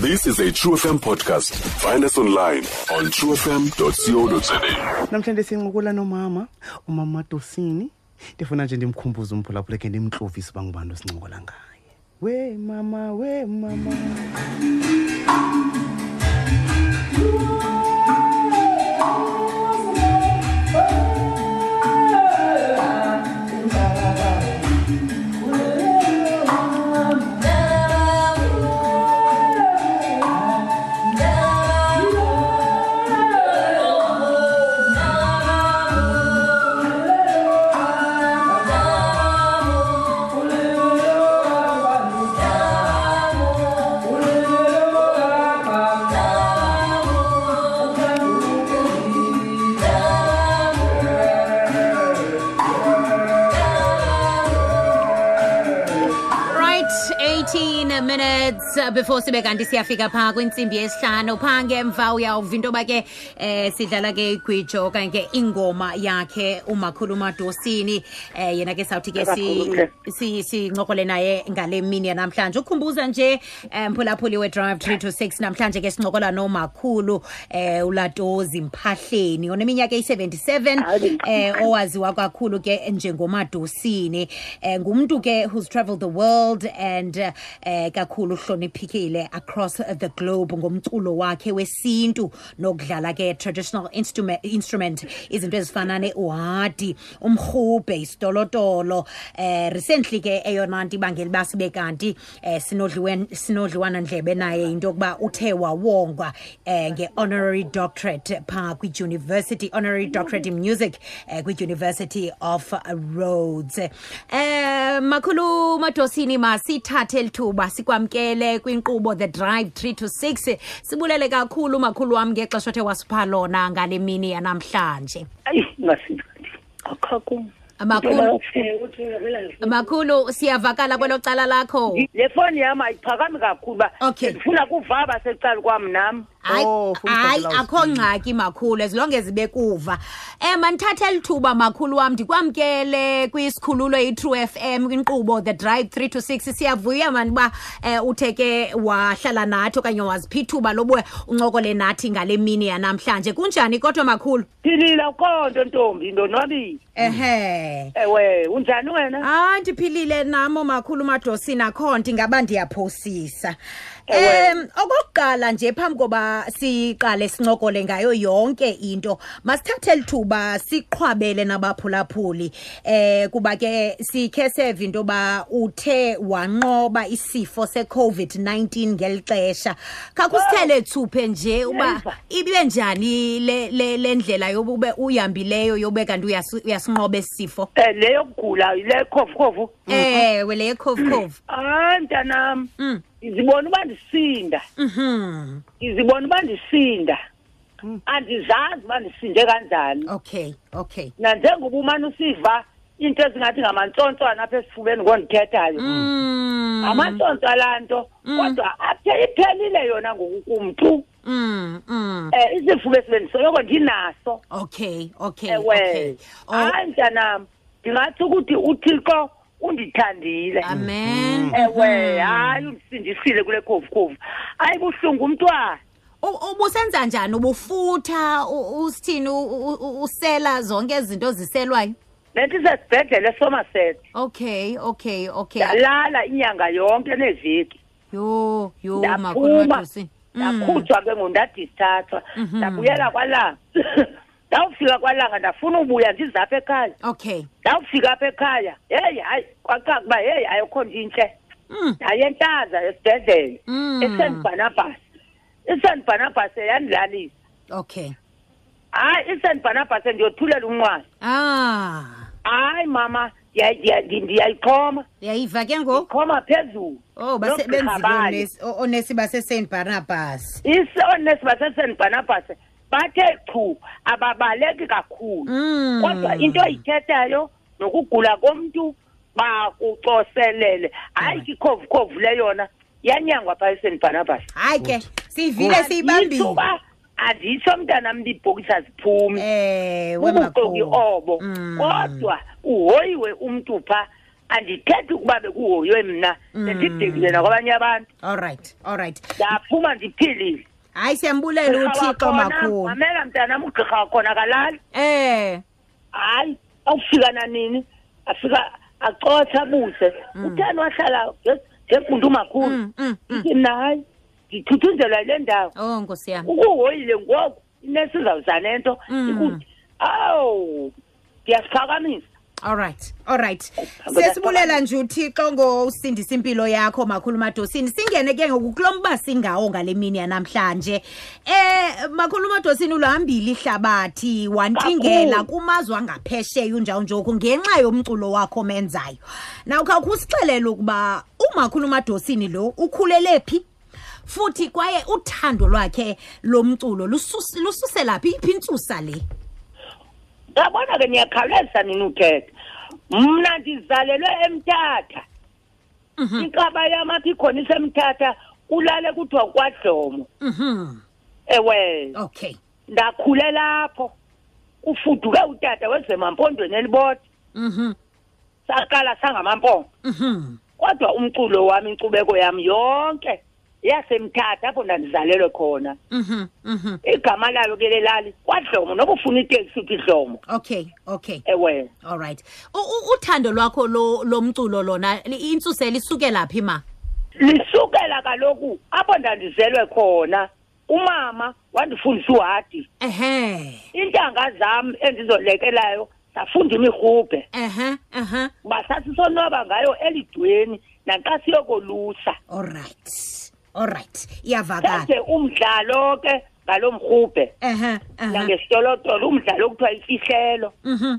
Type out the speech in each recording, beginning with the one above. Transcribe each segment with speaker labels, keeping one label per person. Speaker 1: This is a True FM podcast. Find us online on truefm.co.za.
Speaker 2: namhlanje sinqokola nomama umama Madosini ndifuna nje ndimkhumbuze umphulaphula ke ndimhlovise uba ngubantu sincokola ngaye we mama we mama
Speaker 3: Right 18 minutes uh, before sibe kanti siyafika pha kwinsimbi yesihlanu pha ngemva uyawuva into ba ke eh sidlala ke igwijo okanye ke ingoma yakhe umakhulu madosini eh yena ke sawuthi ke si- si- sincokole naye ngale mini yanamhlanje ukhumbuza nje eh, mphulaphuli we-drive 326 namhlanje ke sincokola nomakhulu eh ulatozi mphahleni oneminyaka eyi-77 eh owaziwa kakhulu ke njengomadosini eh ngumuntu ke who's traveled the world and eh eh, kakhulu uhloniphekile across the globe ngomculo wakhe wesintu nokudlala ke traditional instrument instrument izinto ezifana ne-uhadi umrhubhe isitolotolo eh recently ke eyona nto ibangela uba sibe kanti eh sinodliwen- sinodliwanandlebe naye into yokuba uthe wawongwa eh nge-honorary doctorate phaa kwidyunivesithi honorary doctorate in music eh kwidyunivesithi of rhodes eh makhulu madosini masithathe eli thuba sikwamkele kwinkqubo the drive 3 to 6 sibulele kakhulu makhulu wam ngexesha othe wasipha lona ngale mini yanamhlanje
Speaker 4: ayi ngasinandi akha kum
Speaker 3: makhulu makhulu siyavakala kwelo cala lakho
Speaker 4: le foni yam ayiphakami kakhulu uba
Speaker 3: Okay.
Speaker 4: ndifuna kuvaba secala kwam nam
Speaker 3: hayi
Speaker 2: Oh, full
Speaker 3: hayi
Speaker 2: cover
Speaker 3: akho ngxaki makhulu as long as bekuva um mandithathe eli thuba makhulu wam ndikwamkele kwisikhululo i-true f m kwinkqubo the drive three to six siyavuya mani uba um uthe ke wahlala nathi okanye waziphi ithuba lobuwe uncokole nathi ngale mini yanamhlanje kunjani kodwa makhulu
Speaker 4: philile akho nto ntombi ndonwabile
Speaker 3: ehe
Speaker 4: ewe unjani wena
Speaker 3: hayi ndiphilile namo makhulu madosini akho ndingaba ndiyaphosisa
Speaker 4: Ewe.
Speaker 3: um okokuqala nje phambi koba siqale sincokole ngayo yonke into masithathe eli thuba siqhwabele nabaphulaphuli um kuba ke sikhe seva into yoba uthe wanqoba isifo se-covid-19 ngeli xesha khakusithele tsuphe nje uba
Speaker 4: Yeva.
Speaker 3: ibe njani le, le, le ndlela yobube uyihambileyo yobe kanti uyasi- uyasinqoba esi sifo
Speaker 4: um le yokugula le khofukhofu
Speaker 3: ewe le yekhove khove
Speaker 4: hayi mntanam
Speaker 3: Mm.
Speaker 4: ndizibona uba ndisinda
Speaker 3: mhm
Speaker 4: ndizibona uba ndisinda
Speaker 3: Mm.
Speaker 4: andizazi uba ndisinde kanjani
Speaker 3: okay okay
Speaker 4: nanjengoba umane usiva iinto ezingathi ngamantsontsoana apha esifubeni ngondithethayo
Speaker 3: mm
Speaker 4: Hmm, amantsontsa laa nto kodwa athe iphelile yona ngokukumntu
Speaker 3: mm mm
Speaker 4: um isifuba esibendisoloko ndinaso
Speaker 3: okay okay okay Oh.
Speaker 4: ewe Ah. hayi mntanam ndingathi ukuthi uthixo undithandile Hmm.
Speaker 3: amen Mm. Hmm.
Speaker 4: ewe hayi undisindisile kule khofukhofu hayi buhlungu umntwana
Speaker 3: U- ubusenza Oh, njani ubufutha u- usithini u- u- usela zonke izinto ziselwayo
Speaker 4: le nto isesibhedlele esomaset
Speaker 3: okay okay okay
Speaker 4: ndalala inyanga yonke neeveki
Speaker 3: yho yho Oh, makhulu
Speaker 4: ndaphuma
Speaker 3: Madosi. Mm. Mm-hmm.
Speaker 4: ndakhutshwa ke ngondadisthathwa ndabuyela kwalanga ndawufika kwalanga ndafuna ubuya ndizapha ekhaya
Speaker 3: okay
Speaker 4: ndawufika apha ekhaya heyi hayi kwacakuba heyi ayikho nto intle
Speaker 3: mm
Speaker 4: ndaye ntlaza esibhedlele
Speaker 3: Mm.
Speaker 4: isan barnabas isan barnabas yandilalisa
Speaker 3: okay
Speaker 4: hayi isan barnabas ndiyothulela unqwazi
Speaker 3: ah
Speaker 4: hayi mama ndiya- ndiya- ndi- ndiyayixhoma
Speaker 3: yayiva ke ngoku
Speaker 4: xhoma phezulu
Speaker 3: oh
Speaker 4: Nogqirha bayo.
Speaker 3: basebenzile onesi basesaint barnabas
Speaker 4: Is- oonesi basesan barnabas bathe chu ababaleki kakhulu
Speaker 3: mm
Speaker 4: kodwa into ayithethayo nokugula komntu bakucoselele hayi ke ikhovukhovu leyona yanyangwa phaa esan barnabas
Speaker 3: hayi ke sivile siyibambile
Speaker 4: Ithuba anditsho mntanam ndiibhokisi aziphumi
Speaker 3: ewe
Speaker 4: bubuxoki
Speaker 3: makhulu
Speaker 4: obo
Speaker 3: Eh, Mm.
Speaker 4: kodwa uhoyiwe umntu phaa andithethi ukuba bekuhoywe mna
Speaker 3: Mm.
Speaker 4: sendidikile nakwabanye abantu
Speaker 3: all right all right
Speaker 4: ndaphuma ndiphilile
Speaker 3: hayi siyambulela
Speaker 4: Ugqirha
Speaker 3: uthixo
Speaker 4: wakhona,
Speaker 3: makhulu
Speaker 4: mamela mntanam ugqirha wakhona kalali
Speaker 3: eh
Speaker 4: hayi awufika nanini afika acotha buse uthani wahlala nge- ngegundo umakhulu
Speaker 3: mm, mm, mm.
Speaker 4: ithi mna hayi ndithuthunzelwa yile ndawo
Speaker 3: oh nkosi yami
Speaker 4: ukuhoyile ngoku inesi izawuza nento
Speaker 3: Mm.
Speaker 4: ikuthi awu ndiyasiphakamisa
Speaker 3: all right all right
Speaker 4: Hamba
Speaker 3: sesibulela nje uthixo ngosindisa impilo yakho makhulu madosini singene ke ngoku kulo mba singawo ngale mini yanamhlanje eh makhulu madosini ulihambile ihlabathi wantingela
Speaker 4: Kakhulu.
Speaker 3: kumazwe angaphesheya unjawunjoku ngenxa yomculo wakho menzayo nawukha kusixelele ukuba umakhulu madosini lo ukhulele phi futhi kwaye uthando lwakhe lomculo lusus- lususela phi iphi intsusa le
Speaker 4: ndabona ke niyakhawulezisa nini uthetha mna ndizalelwe emthatha
Speaker 3: Mhm.
Speaker 4: inkaba yam apha ikhona isemthatha kulale kuthiwa kwadlomo
Speaker 3: mhm
Speaker 4: ewe
Speaker 3: okay
Speaker 4: ndakhule lapho ufuduke utata wezemampondweni elibodwa
Speaker 3: mhm
Speaker 4: saqala sangamampondo
Speaker 3: mhm
Speaker 4: kodwa umculo wami inkcubeko yami yonke yasemthatha apho ndandizalelwe khona
Speaker 3: Mhm, mhm.
Speaker 4: igama layo ke lelali kwadlomo noba ufuna iteksi uthi dlomo
Speaker 3: okay okay
Speaker 4: ewe
Speaker 3: all right U- u- uthando lwakho lo- lomculo lona li- intsusela isukela phi ma
Speaker 4: lisukela kaloku apho ndandizelwe khona umama wandifundisa uhadi
Speaker 3: ehe
Speaker 4: iintanga zam endizolekelayo zafunda imirhubhe
Speaker 3: ehe ehe
Speaker 4: uba sasisonwaba ngayo elidweni naxa siyokolusa
Speaker 3: all right all right iyavakala
Speaker 4: senze umdlalo ke ngalo mrhubhe
Speaker 3: ehe ehe
Speaker 4: nangesitolotolo umdlalo okuthiwa ifihlelo
Speaker 3: Mhm,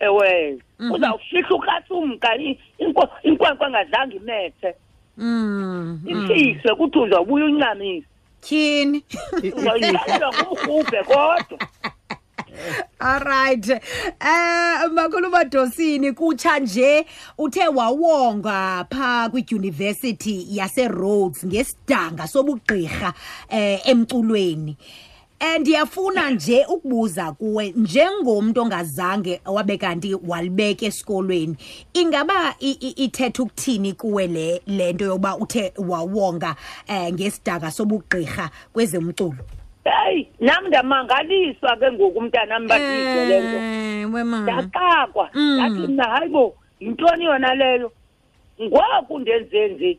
Speaker 4: ewe
Speaker 3: Mhm.
Speaker 4: uzawufihla ukratsi umka i- inko- inkwenkwe engazange imethe
Speaker 3: mm, mm.
Speaker 4: ifihlwe kuthi uzawubuya uncamise
Speaker 3: tyhini
Speaker 4: uzawuyihlelwa ngumrhubhe kodwa
Speaker 3: allright eh makhulu madosini kutsha nje uthe wawongwa pha kwidyunivesithi yaserhodes ngesidanga sobugqirha eh emculweni andiyafuna nje ukubuza kuwe njengomntu ongazange wabe kanti walibeka esikolweni ingaba i- i- ithetha ukuthini kuwe le le nto yokuba uthe wawonga um ngesidanga sobugqirha kwezemculo
Speaker 4: heyi nam ndamangaliswa ke ngoku
Speaker 3: Eh.
Speaker 4: umntanam batile le nto
Speaker 3: Ewe, ma.
Speaker 4: ndaqakwa
Speaker 3: Mm.
Speaker 4: ndathi mna hayi bo yintoni yona leyo ngoku ndenze nje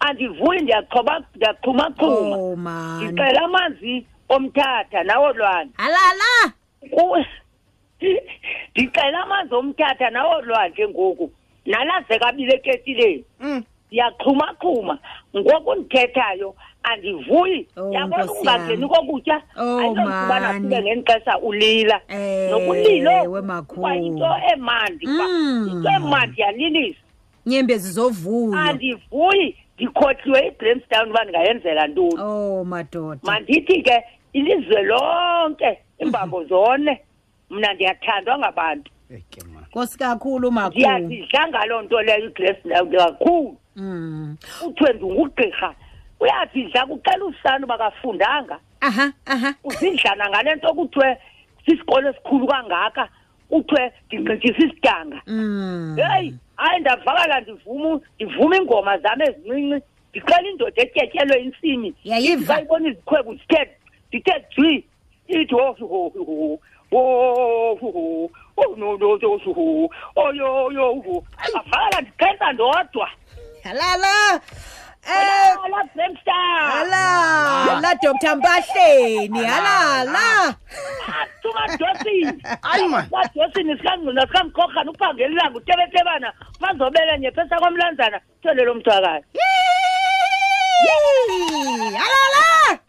Speaker 4: andivuyi ndiyaxhoba- ndiyaxhumaxhuma
Speaker 3: Oh, man.
Speaker 4: ndicela amanzi omthatha nawolwane
Speaker 3: alala
Speaker 4: kuwe ndicela amanzi omthatha nawolwandle ngoku nalaze kabile ketileni
Speaker 3: Mm.
Speaker 4: ndiyaxhumaxhuma ngoku ndithethayo andivuyi
Speaker 3: Oh,
Speaker 4: yabona
Speaker 3: Nkosi
Speaker 4: ukungangeni
Speaker 3: yam.
Speaker 4: kokutya
Speaker 3: Oh,
Speaker 4: ayizokubana
Speaker 3: mani.
Speaker 4: sibe ngeli xesha ulila
Speaker 3: Eh,
Speaker 4: nokulilo
Speaker 3: we makhulu.
Speaker 4: kuba yinto emandi uba
Speaker 3: Mm.
Speaker 4: yinto emandi yalilisa
Speaker 3: nyembezi zovuywa
Speaker 4: andivuyi ndikhohliwe ibramstown uba ndingayenzela ntoni
Speaker 3: oh madoda
Speaker 4: mandithi ke ilizwe lonke imbambo zone mna ndiyathandwa ngabantu
Speaker 2: eke ma
Speaker 3: nkosi kakhulu makhulu
Speaker 4: ndiyazidla ngaloo nto leyo igresi kakhulu
Speaker 3: Mm.
Speaker 4: kuthiwe ndingugqirha uyazidla kuqela usana uba kafundanga
Speaker 3: aha aha
Speaker 4: uzidlana ngale nto kuthiwe sisikolo esikhulu kangaka kuthiwe ndingqithisa isidanga
Speaker 3: Mm.
Speaker 4: heyi hayi ndavakala ndivuma ndivuma iingoma zam ezincinci ndiqela indoda etyetyelwe intsimi
Speaker 3: yayiva
Speaker 4: bayibona izikhwebu zithe zithe jwi ithi wohuhuhu wohuhu ononosuhu oyoyohu avakala ndikhetha ndodwa
Speaker 3: alala eh
Speaker 4: alabramstar
Speaker 3: ala la dr mpahleni alala
Speaker 4: sumadosini
Speaker 2: Ayi man.
Speaker 4: madosini sikangqina sikamkrokrana uphangelelanga utebetebana mazobele nyephesa kwamlanzana tholelo mthwakayo
Speaker 3: Yee! alala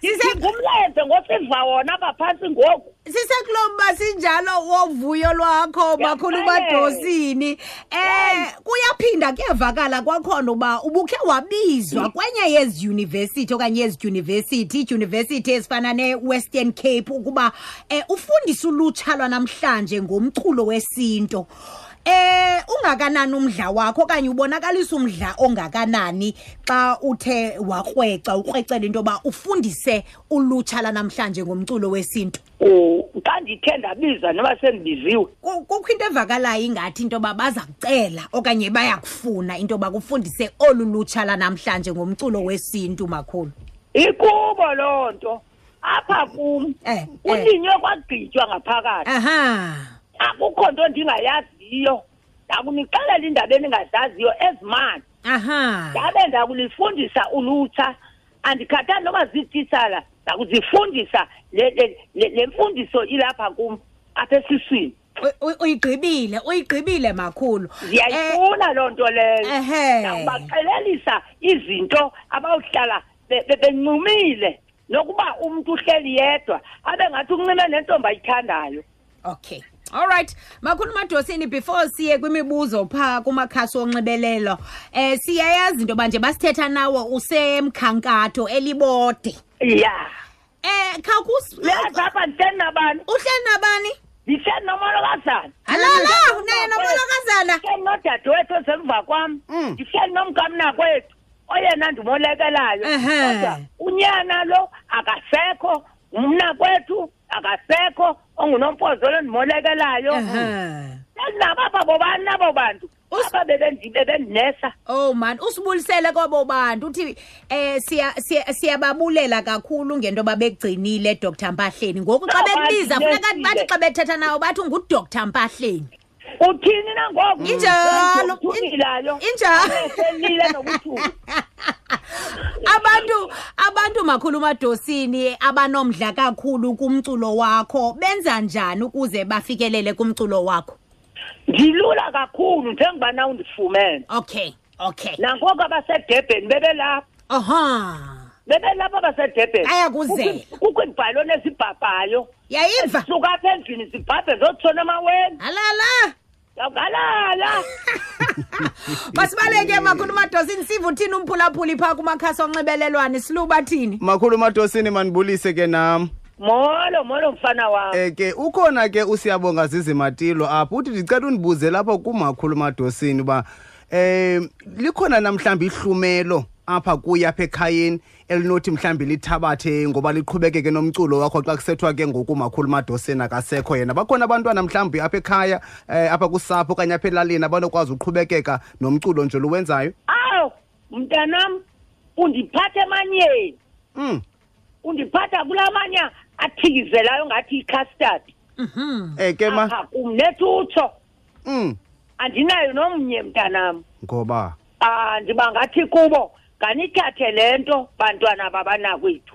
Speaker 3: Sise-
Speaker 4: ngumlenze ngosiva wona abaphantsi ngoku
Speaker 3: sisekulomba sinjalo wovuyo lwakho makhulu
Speaker 4: Yafanele.
Speaker 3: madosini eh kuyaphinda kuyavakala kwakhona uba ubukhe wabizwa kwenye yezidyunivesithi okanye ezidyunivesithi iidyunivesithi ezifana ne-western eh, cape ukuba um ufundise ulutsha lwanamhlanje ngomculo wesinto eh ungakanani umdla wakho okanye ubonakalisa umdla ongakanani xa uthe wakrweca ukrwecela into yoba ufundise ulutsha lanamhlanje ngomculo wesintu
Speaker 4: U- Oh, xa ndithe ndabiza noba sendibiziwe
Speaker 3: Ku- kukho into evakalayo ingathi into yoba baza kucela okanye bayakufuna into yoba kufundise olu lutsha lanamhlanje ngomculo wesintu makhulu
Speaker 4: ikubo loo nto apha kum
Speaker 3: Eh, eh.
Speaker 4: kulinywe kwagqitywa ngaphakathi
Speaker 3: aha
Speaker 4: akukho nto ndingayaziyo ndakunixelela iindaba endingazaziyo ezimandi
Speaker 3: aha
Speaker 4: ndabe ndakulifundisa ulutsha andikhathali noba ziitishala ndakuzifundisa le, le, le, le mfundiso ilapha kum apha esiswini
Speaker 3: U- u- uyigqibile uyigqibile makhulu Eh,
Speaker 4: ndiyayifuna loo nto leyo
Speaker 3: Ehhe.
Speaker 4: ndakubaxelelisa izinto abawuhlala be- be- bencumile nokuba umntu uhleli yedwa abe ngathi uncime nentombi ayithandayo
Speaker 3: Eh, okay all right makhulu madosini before siye kwimibuzo phaa kumakhasi onxibelelo um eh, siyayazi into yoba nje basithetha nawo usemkhankato elibode
Speaker 4: ya
Speaker 3: um khawukus
Speaker 4: uyazi apha ndihleli nabantu
Speaker 3: uhleli nabani
Speaker 4: ndihleli nomolokazana
Speaker 3: alala naye nomolokazana
Speaker 4: ndihleli nodadewethu osemva kwam
Speaker 2: Mm.
Speaker 4: ndihleli nomkamnakwethu oyena ndimolekelayo
Speaker 3: Ehhe.
Speaker 4: kodwa unyana lo akasekho umnakwethu akasekho ongunompozo lo ndimolekelayo
Speaker 3: Ehhe.
Speaker 4: ndinabapha bobani nabo bantu
Speaker 3: Us-
Speaker 4: apha bebendi- bebendinesa
Speaker 3: Oh man usibulisele kobo bantu uthi eh siya siya- siyababulela kakhulu ngento babegcinile Dr Mpahleni ngoku xa
Speaker 4: No,
Speaker 3: bekubiza funeka
Speaker 4: bazinesile.
Speaker 3: bathi xa bethetha nawo bathi nguDr Mpahleni
Speaker 4: uthini nangoku
Speaker 3: Injalo.
Speaker 4: Uthunilayo.
Speaker 3: Injalo.
Speaker 4: Eselile nokuthula
Speaker 3: abantu abantu makhulu madosini abanomdla kakhulu kumculo wakho benza njani ukuze bafikelele kumculo wakho
Speaker 4: ndilula kakhulu njengoba na undifumene
Speaker 3: okay okay
Speaker 4: nangoku abasedebheni bebelapha
Speaker 3: aha
Speaker 4: bebelapha basedebheni
Speaker 3: Bayakuzela.
Speaker 4: Kukho- kukho iibhaloni ezibhabhayo
Speaker 3: yayiva
Speaker 4: suka apha endlini zibhabhe zotshona emaweni
Speaker 3: alala
Speaker 4: ndawugalala
Speaker 3: masibaleke makhulu madosini siva uthini umphulaphuli phaa kumakhasi onxibelelwane siluba thini
Speaker 2: makhulu matosini mandibulise ke nam
Speaker 4: molo molo mfana wam
Speaker 2: um ke ukhona ke usiyabonga zizimatilo apho uthi ndicela undibuze lapho kumakhulu madosini uba um likhona na mhlawumbi ihlumelo apha kuye apha ekhayeni elinothi mhlawumbi lithabathe ngoba liqhubekeke nomculo wakho xa kusethwa ke ngoku makhulu madosini akasekho yena bakhona abantwana mhlawumbi apha ekhaya um apha kusapho okanye apha elalini abanokwazi uqhubekeka nomculo nje luwenzayo
Speaker 4: awu mntanam undiphatha emanyeni
Speaker 2: um
Speaker 4: undiphatha kulaa manya athikizelayo ngathi icustard
Speaker 2: um ke ma
Speaker 4: apha kum nethutsho
Speaker 2: um
Speaker 4: andinayo nomnye mntanam
Speaker 2: ngoba
Speaker 4: ah ndiba ngathi kubo nganithathe le nto bantwana babanakwethu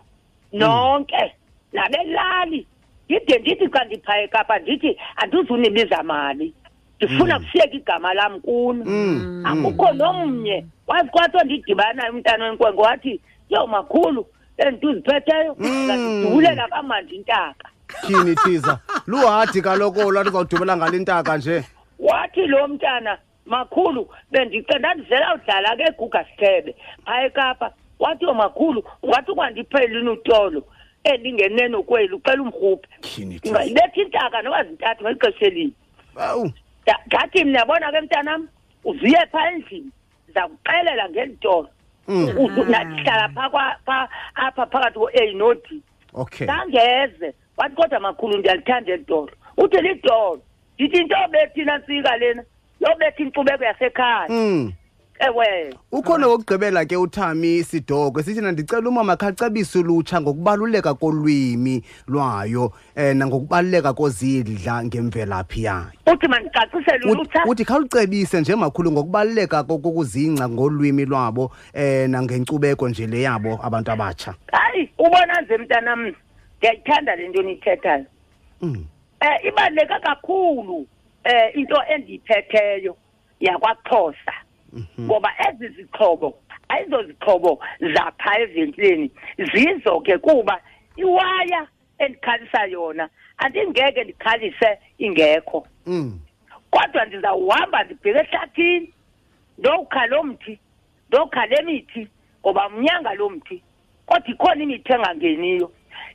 Speaker 4: nonke nabelali ndide ndithi xa ndiphaya ekapa ndithi andizunibiza mali ndifuna kushiyeka igama lam kuno
Speaker 2: Mm,
Speaker 4: akukho nomnye kwazi kwathiwa ndidibanayo umntana wenkwenkwe wathi yho makhulu le nto uziphetheyo ngandidibulela kamandi intaka
Speaker 2: tyhini thiza luhadi kaloko lwathi uzawudubela ngale ntaka nje
Speaker 4: wathi lo mntana makhulu bendice ndandizela udlala ke eguga sithebe phaya ekapa wathi yo makhulu ungathi ukwandipheli inutolo endingeneno kweli ucela umrhuphi
Speaker 2: Tyhini thiza.
Speaker 4: ungayibetha intaka noba zintathu ngexesha elinye
Speaker 2: Awu,
Speaker 4: Nda- ndathi mna yabona ke mntanam uziye phaa endlini ndiza kuxelela ngeli tolo
Speaker 2: Mm.
Speaker 4: Uzu- nandihlala phaa kwa- phaa- apha phakathi ko-a no d
Speaker 2: okay
Speaker 4: ndangeze wathi kodwa makhulu ndiyalithanda eli dolo uthi lidolo ndithi into bethina ntsika lena yobetha inkcubeko yasekhaya Eh,
Speaker 2: Mm.
Speaker 4: ewe
Speaker 2: ukhona wokugqibela ke uthami sidoko sithi nandicela umama khacebise ulutsha ngokubaluleka kolwimi lwayo um nangokubaluleka kozidla ngemvelaphi yayo
Speaker 4: uthi mandicacisele
Speaker 2: Uthi-
Speaker 4: ulutsha
Speaker 2: uthi khawulicebise nje makhulu ngokubaluleka kokukuzingca ngolwimi lwabo um nangenkcubeko nje le yabo abantu abatsha
Speaker 4: hayi ubona nje mntanam ndiyayithanda le nto niyithethayo
Speaker 2: Mm.
Speaker 4: um ibaluleke kakhulu um into endiyiphetheyo yakwaxhosa ngoba ezi zixhobo ayizozixhobo zapha evenkileni zizo ke kuba iwaya endikhalisa yona andingeke ndikhalise ingekho
Speaker 2: Mm.
Speaker 4: kodwa ndizawuhamba ndibheke ehlathini ndowukha loo mthi ndowukha le mithi ngoba mnyanga loo mthi kodwa ikhona imithi engangeniyo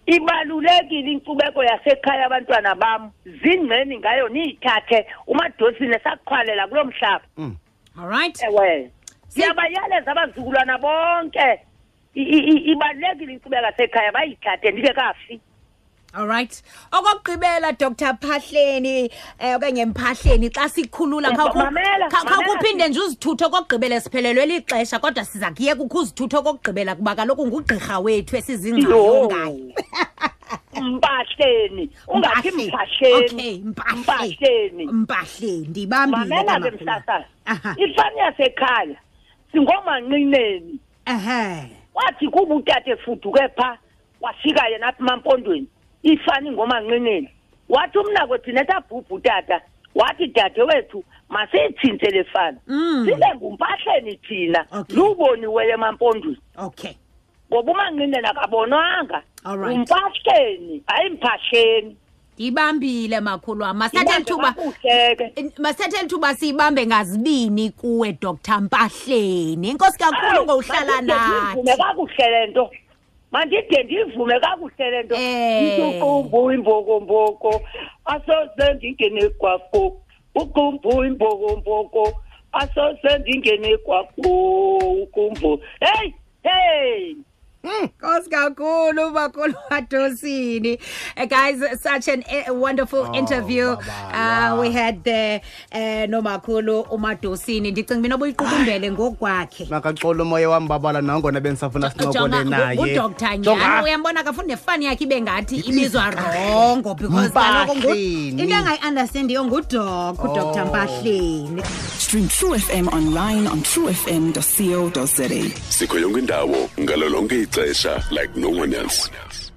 Speaker 4: ibalulekile inkcubeko yasekhaya abantwana bam zingceni ngayo niyithathe umadosini esaqhwalela kulo mhlaba
Speaker 2: Mm.
Speaker 3: all right
Speaker 4: ewe
Speaker 3: Si-
Speaker 4: siyabayaleza abazukulwana bonke I- i- i- ibalulekile inkcubeko yasekhaya bayithathe ndingekafi
Speaker 3: alright okokugqibela dr phahleni um okanye mphahleni xa sikhulula khawukhu-
Speaker 4: Mamela,
Speaker 3: kha-
Speaker 4: mamela
Speaker 3: khawukuphinde nje uzithutho okokugqibela siphelelwe lixesha kodwa siza kuye kukho uzithutho okokugqibela kuba kaloku ngugqirha wethu esizingcayo
Speaker 4: Yho.
Speaker 3: ngaye
Speaker 4: mpahleni ungathi
Speaker 3: Mpahle. Okay,
Speaker 4: mpahleni
Speaker 3: mpahle.
Speaker 4: mpahleni
Speaker 3: mpahle ndibambile
Speaker 4: mamela ke
Speaker 3: kamakhulu.
Speaker 4: mhlasazi
Speaker 3: Aha.
Speaker 4: ifani yasekhaya singomanqineni
Speaker 3: Ehhe.
Speaker 4: wathi kuba utate fuduke phaa wafika yena apha emampondweni ifani ngomanqineni wathi umna kwethu netabhubhu utata wathi dade wethu masiyitshintshe le fana
Speaker 3: Mm.
Speaker 4: sibe ngumpahleni thina
Speaker 3: Okay.
Speaker 4: ziwuboniweyo emampondweni
Speaker 3: okay
Speaker 4: ngoba umanqineni akabonwanga
Speaker 3: Alright.
Speaker 4: umpahleni hayi mphahleni
Speaker 3: ndibambile makhulu wam masathe lithuba
Speaker 4: Ibanjwe kakuhle ke
Speaker 3: masithetha ithuba siyibambe ngazibini kuwe dr mpahleni inkosi kakhulu
Speaker 4: Awu,
Speaker 3: ngowuhlala
Speaker 4: mandide ndiyivume
Speaker 3: nathi
Speaker 4: kakuhle le nto mandide ndiyivume kakuhle le nto
Speaker 3: Eh.
Speaker 4: ituqumbu imbokomboko asoze ndingene kwafo uqumbu imbokomboko asoze ndingene kwafo uqumbu heyi heyi
Speaker 3: Nkosi kakhulu makhulu wadosini. Uh, guys, such an uh, wonderful interview uh, we had there uh, nomakhulu umadosini. Ndicinga mina obuyiqukumbele ngokwakhe.
Speaker 2: makaxola umoya wam babala nangona bendisafuna sinokole naye ah,
Speaker 3: udr
Speaker 2: Jonga.
Speaker 3: nyano uyambona kafuni nefani yakhe ibe ngathi ibizwa rongo because kaloku ngu-
Speaker 2: Mpahleni.
Speaker 3: into engayiunderstandiyo ngudok udr
Speaker 2: Oh.
Speaker 3: mpahleni
Speaker 5: Stream True FM online on truefm.co.za.
Speaker 1: sikho yonke indawo ngalo lonke ixesha like no one else